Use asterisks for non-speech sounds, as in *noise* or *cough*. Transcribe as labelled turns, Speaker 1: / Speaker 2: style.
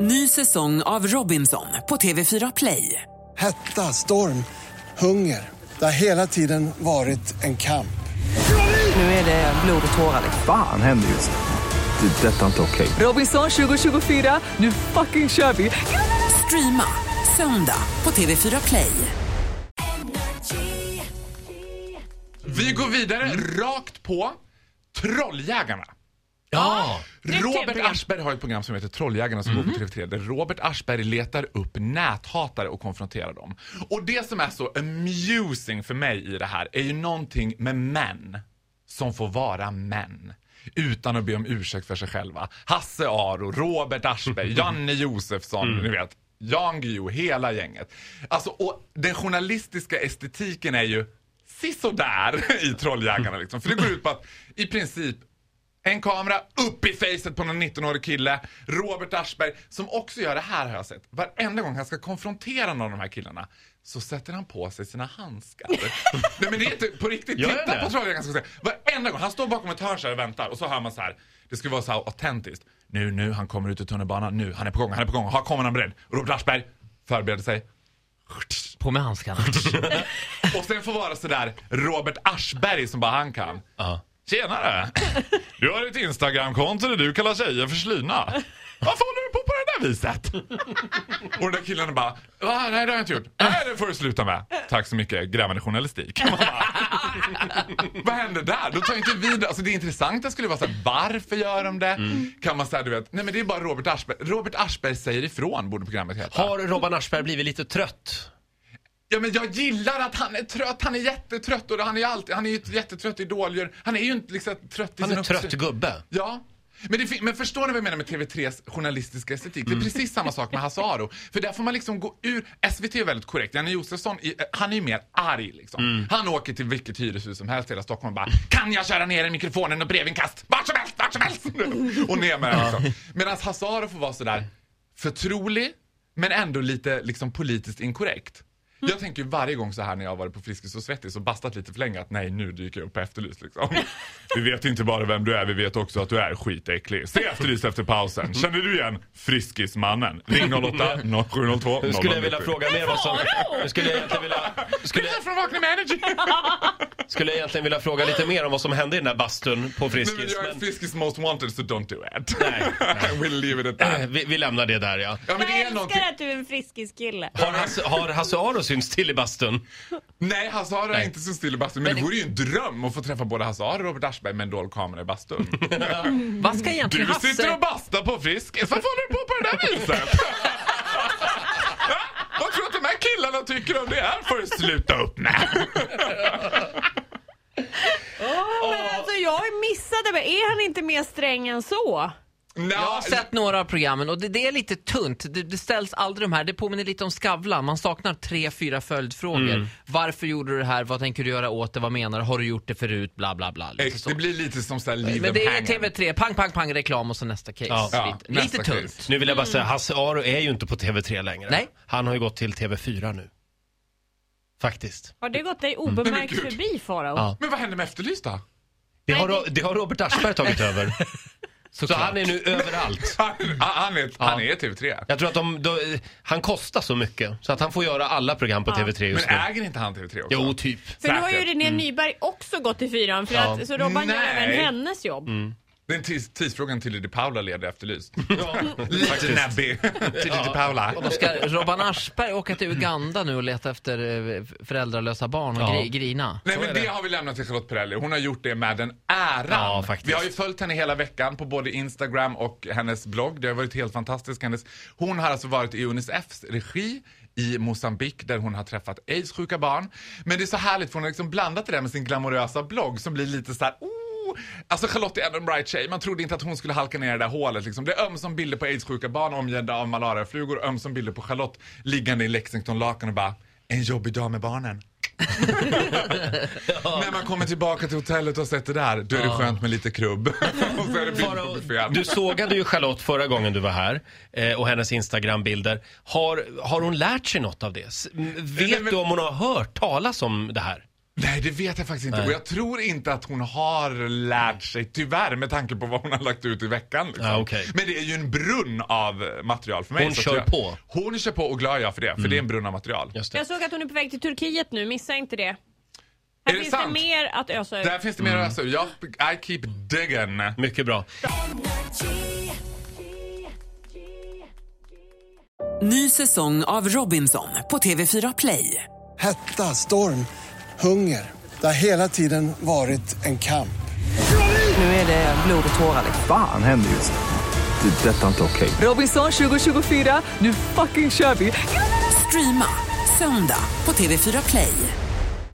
Speaker 1: Ny säsong av Robinson på TV4 Play.
Speaker 2: Hetta, storm, hunger. Det har hela tiden varit en kamp.
Speaker 1: Nu är det blod och tårar.
Speaker 3: Fan händer just nu. Det. är Detta är inte okej.
Speaker 1: Robinson 2024, nu fucking kör vi! Streama söndag på TV4 Play.
Speaker 4: Vi går vidare rakt på Trolljägarna.
Speaker 5: Ja!
Speaker 4: Robert Aschberg har ett program som heter Trolljägarna som går på TV3 där Robert Aschberg letar upp näthatare och konfronterar dem. Och det som är så amusing för mig i det här är ju någonting med män som får vara män utan att be om ursäkt för sig själva. Hasse Aro, Robert Aschberg, Janne Josefsson, ni vet. Jan Guillou, hela gänget. Alltså, och den journalistiska estetiken är ju sisådär *laughs* i Trolljägarna liksom. För det går ut på att i princip en kamera upp i facet på någon 19-årig kille. Robert Aschberg, som också gör det här har jag sett. Varenda gång han ska konfrontera någon av de här killarna så sätter han på sig sina
Speaker 5: *laughs*
Speaker 4: handskar. Nej men det är inte på riktigt.
Speaker 5: Gör
Speaker 4: Titta
Speaker 5: det?
Speaker 4: på Trolljägarna ska jag säga. Varenda gång. Han står bakom ett hörn så här och väntar och så hör man så här. Det skulle vara så här autentiskt. Nu, nu, han kommer ut ur tunnelbanan. Nu, han är på gång, han är på gång. Här kommer han beredd. Robert Aschberg förbereder sig.
Speaker 5: På med handskarna.
Speaker 4: Och sen får vara sådär Robert Aschberg som bara han kan. Tjenare! Du har ett Instagramkonto där du kallar tjejer för slina. Varför håller du på på det där viset? Och den där killen bara, Va? nej det har jag inte gjort. Nej det får du sluta med. Tack så mycket, grävande journalistik. Man bara, Vad händer där? Då tar inte vi det. Alltså det intressanta skulle vara så här, varför gör de det? Kan man säga du vet, nej men det är bara Robert Aschberg. Robert Aschberg säger ifrån borde programmet
Speaker 5: *laughs*
Speaker 4: heta.
Speaker 5: Har Robban Aschberg blivit lite trött?
Speaker 4: Ja men jag gillar att han är trött, han är jättetrött och han är ju alltid, han är ju ett jättetrött idolgör. Han är ju inte liksom trött i
Speaker 5: Han
Speaker 4: sin
Speaker 5: är trött
Speaker 4: uppsyn.
Speaker 5: gubbe.
Speaker 4: Ja. Men, det, fin- men förstår ni vad jag menar med TV3s journalistiska estetik? Det är precis samma sak med Hasse Aro. För där får man liksom gå ur... SVT är väldigt korrekt. Janne Josefsson, i- eh, han är ju mer arg liksom.
Speaker 5: Mm.
Speaker 4: Han åker till vilket hyreshus som helst i hela Stockholm och bara Kan jag köra ner i mikrofonen och brevinkast? Vart som helst, vart som helst! *laughs* och ner med den liksom. Medan Hasse Aro får vara sådär förtrolig, men ändå lite liksom politiskt inkorrekt. Jag tänker ju varje gång så här när jag har varit på Friskis och Svettis och bastat lite för länge att nej nu dyker jag upp på Efterlyst liksom.
Speaker 5: *laughs*
Speaker 4: Vi vet inte bara vem du är, vi vet också att du är skitäcklig. Se Efterlyst efter
Speaker 5: Mm.
Speaker 4: pausen. Känner du igen Friskismannen?
Speaker 5: *laughs*
Speaker 4: Ring 08 0702
Speaker 5: Nu skulle jag vilja fråga mer vad *laughs* som... Nu skulle jag egentligen vilja... Skulle,
Speaker 4: Det är från Vakna
Speaker 5: *laughs*
Speaker 4: med Energy!
Speaker 5: skulle jag egentligen vilja fråga lite mer om vad som hände i den där bastun på
Speaker 4: Nej men
Speaker 5: Friskis.
Speaker 4: jag är
Speaker 5: Men,
Speaker 4: Friskis most wanted så don't do it.
Speaker 5: Nej,
Speaker 4: *laughs* We'll leave it at that.
Speaker 5: eh, vi, vi lämnar det där ja.
Speaker 4: Ja men
Speaker 6: Jag
Speaker 4: det är
Speaker 6: älskar
Speaker 4: någonting.
Speaker 6: att du är en friskiskille.
Speaker 5: Har Hasse, har Hasse Aro synts till i bastun?
Speaker 4: Nej Hasse Aro har
Speaker 5: Nej.
Speaker 4: inte synts till i bastun men det vore ju en dröm att få träffa både Hasse Aro och Robert Aschberg med en dold kamera
Speaker 5: *laughs*
Speaker 4: i bastun.
Speaker 7: Vad ska egentligen
Speaker 4: Du sitter
Speaker 7: Hasse...
Speaker 4: och bastar på Friskis. Varför håller du på på det där viset? *laughs* Va? Vad tror du att de här killarna tycker om det här får du sluta upp med.
Speaker 6: Men alltså jag missade, men är han inte mer sträng än så?
Speaker 7: Jag har sett några av programmen och det, det är lite tunt. Det, det ställs aldrig de här, det påminner lite om Skavlan. Man saknar tre, fyra följdfrågor.
Speaker 4: Mm.
Speaker 7: Varför gjorde du det här? Vad tänker du göra åt det? Vad menar du? Har du gjort det förut? Bla, bla, bla. Lite så.
Speaker 4: Det blir lite som såhär leave
Speaker 7: Men
Speaker 4: them
Speaker 7: det är
Speaker 4: hanging.
Speaker 7: TV3, pang, pang, pang, reklam och så nästa case.
Speaker 5: Ja.
Speaker 4: Ja,
Speaker 7: lite
Speaker 4: nästa
Speaker 7: lite
Speaker 4: case.
Speaker 7: tunt.
Speaker 5: Nu vill jag bara säga, Hasse Aro är ju inte på TV3 längre.
Speaker 7: Nej.
Speaker 5: Han har ju gått till TV4 nu. Faktiskt.
Speaker 6: Har det gått dig obemärkt
Speaker 4: Mm.
Speaker 6: förbi Farao?
Speaker 5: Ja.
Speaker 4: Men vad händer med Efterlyst då?
Speaker 5: Det har, det har Robert Aschberg tagit *laughs* över. Så han är nu överallt.
Speaker 4: Han, han, är, han är TV3.
Speaker 5: Jag tror att de, de, han kostar så mycket så att han får göra alla program på TV3
Speaker 4: Men
Speaker 5: just nu.
Speaker 4: äger inte han TV3 också?
Speaker 5: Jo, typ.
Speaker 6: För nu har ju
Speaker 4: Säkert. Mm.
Speaker 6: René Nyberg också gått i fyran, för
Speaker 5: Ja.
Speaker 6: att, så Robban gör
Speaker 4: Nej. Mm.
Speaker 6: även hennes jobb.
Speaker 4: Den tids, tidsfrågan till Di Paula leder Efterlyst.
Speaker 5: Faktiskt.
Speaker 4: Lite näbbig. Till Di Paula.
Speaker 7: Och då ska Robban Aschberg åka till Uganda nu och leta efter eh, föräldralösa barn och
Speaker 5: Ja.
Speaker 7: gri, grina.
Speaker 4: Nej
Speaker 5: Så
Speaker 4: men
Speaker 5: är
Speaker 4: det.
Speaker 5: det.
Speaker 4: har vi lämnat till Charlotte Perrelli. Hon har gjort det med den äran.
Speaker 5: Ja, faktiskt.
Speaker 4: Vi har ju följt henne hela veckan på både Instagram och hennes blogg. Det har varit helt fantastiskt. Hennes, hon har alltså varit i Unicefs regi i Mosambik där hon har träffat aidssjuka barn. Men det är så härligt för hon har liksom blandat det där med sin glamorösa blogg som blir lite så här. Oh! Alltså Charlotte är ändå en bright tjej. Man trodde inte att hon skulle halka ner i det där hålet. Liksom. Det är ömsom bilder på aidssjuka barn omgivna av malariaflugor och ömsom bilder på Charlotte liggande i Lexington-lakan och bara en jobbig dag med barnen. När man kommer tillbaka till hotellet och sätter det där, då är det skönt med
Speaker 5: *laughs*
Speaker 4: lite krubb. och så är det bild på buffén.
Speaker 5: Du sågade ju Charlotte förra gången du var här eh, och hennes Instagram-bilder. Har, har hon lärt sig något av det? S- m- Vet
Speaker 4: Nej, men-
Speaker 5: du om hon har hört talas om det här?
Speaker 4: Nej, det vet jag faktiskt inte. Och jag tror inte att hon har lärt sig, tyvärr, med tanke på vad hon har lagt ut i veckan. Liksom.
Speaker 5: Ja, okej.
Speaker 4: Men det är ju en brunn av material för mig.
Speaker 5: Hon
Speaker 4: så att
Speaker 5: kör
Speaker 4: jag,
Speaker 5: på. Mm.
Speaker 4: Hon kör på och glad är jag för det, för det är en brunn av material.
Speaker 5: Just det.
Speaker 6: Jag såg att hon är på väg till Turkiet nu, missa inte det. Här
Speaker 4: Är det
Speaker 6: finns det
Speaker 4: sant?
Speaker 6: mer att ösa ur.
Speaker 4: Där finns det mer alltså. Jag, I keep digging.
Speaker 5: Mycket bra.
Speaker 1: Ny säsong av Robinson på TV4 Play.
Speaker 2: Hetta, storm, hunger. Det har hela tiden varit en kamp.
Speaker 1: Nu är det blod och tårar. liksom.
Speaker 3: Fan händer just det. Det är detta inte okej.
Speaker 1: Robinson 2024, nu fucking kör vi! Streama söndag på TV4 Play.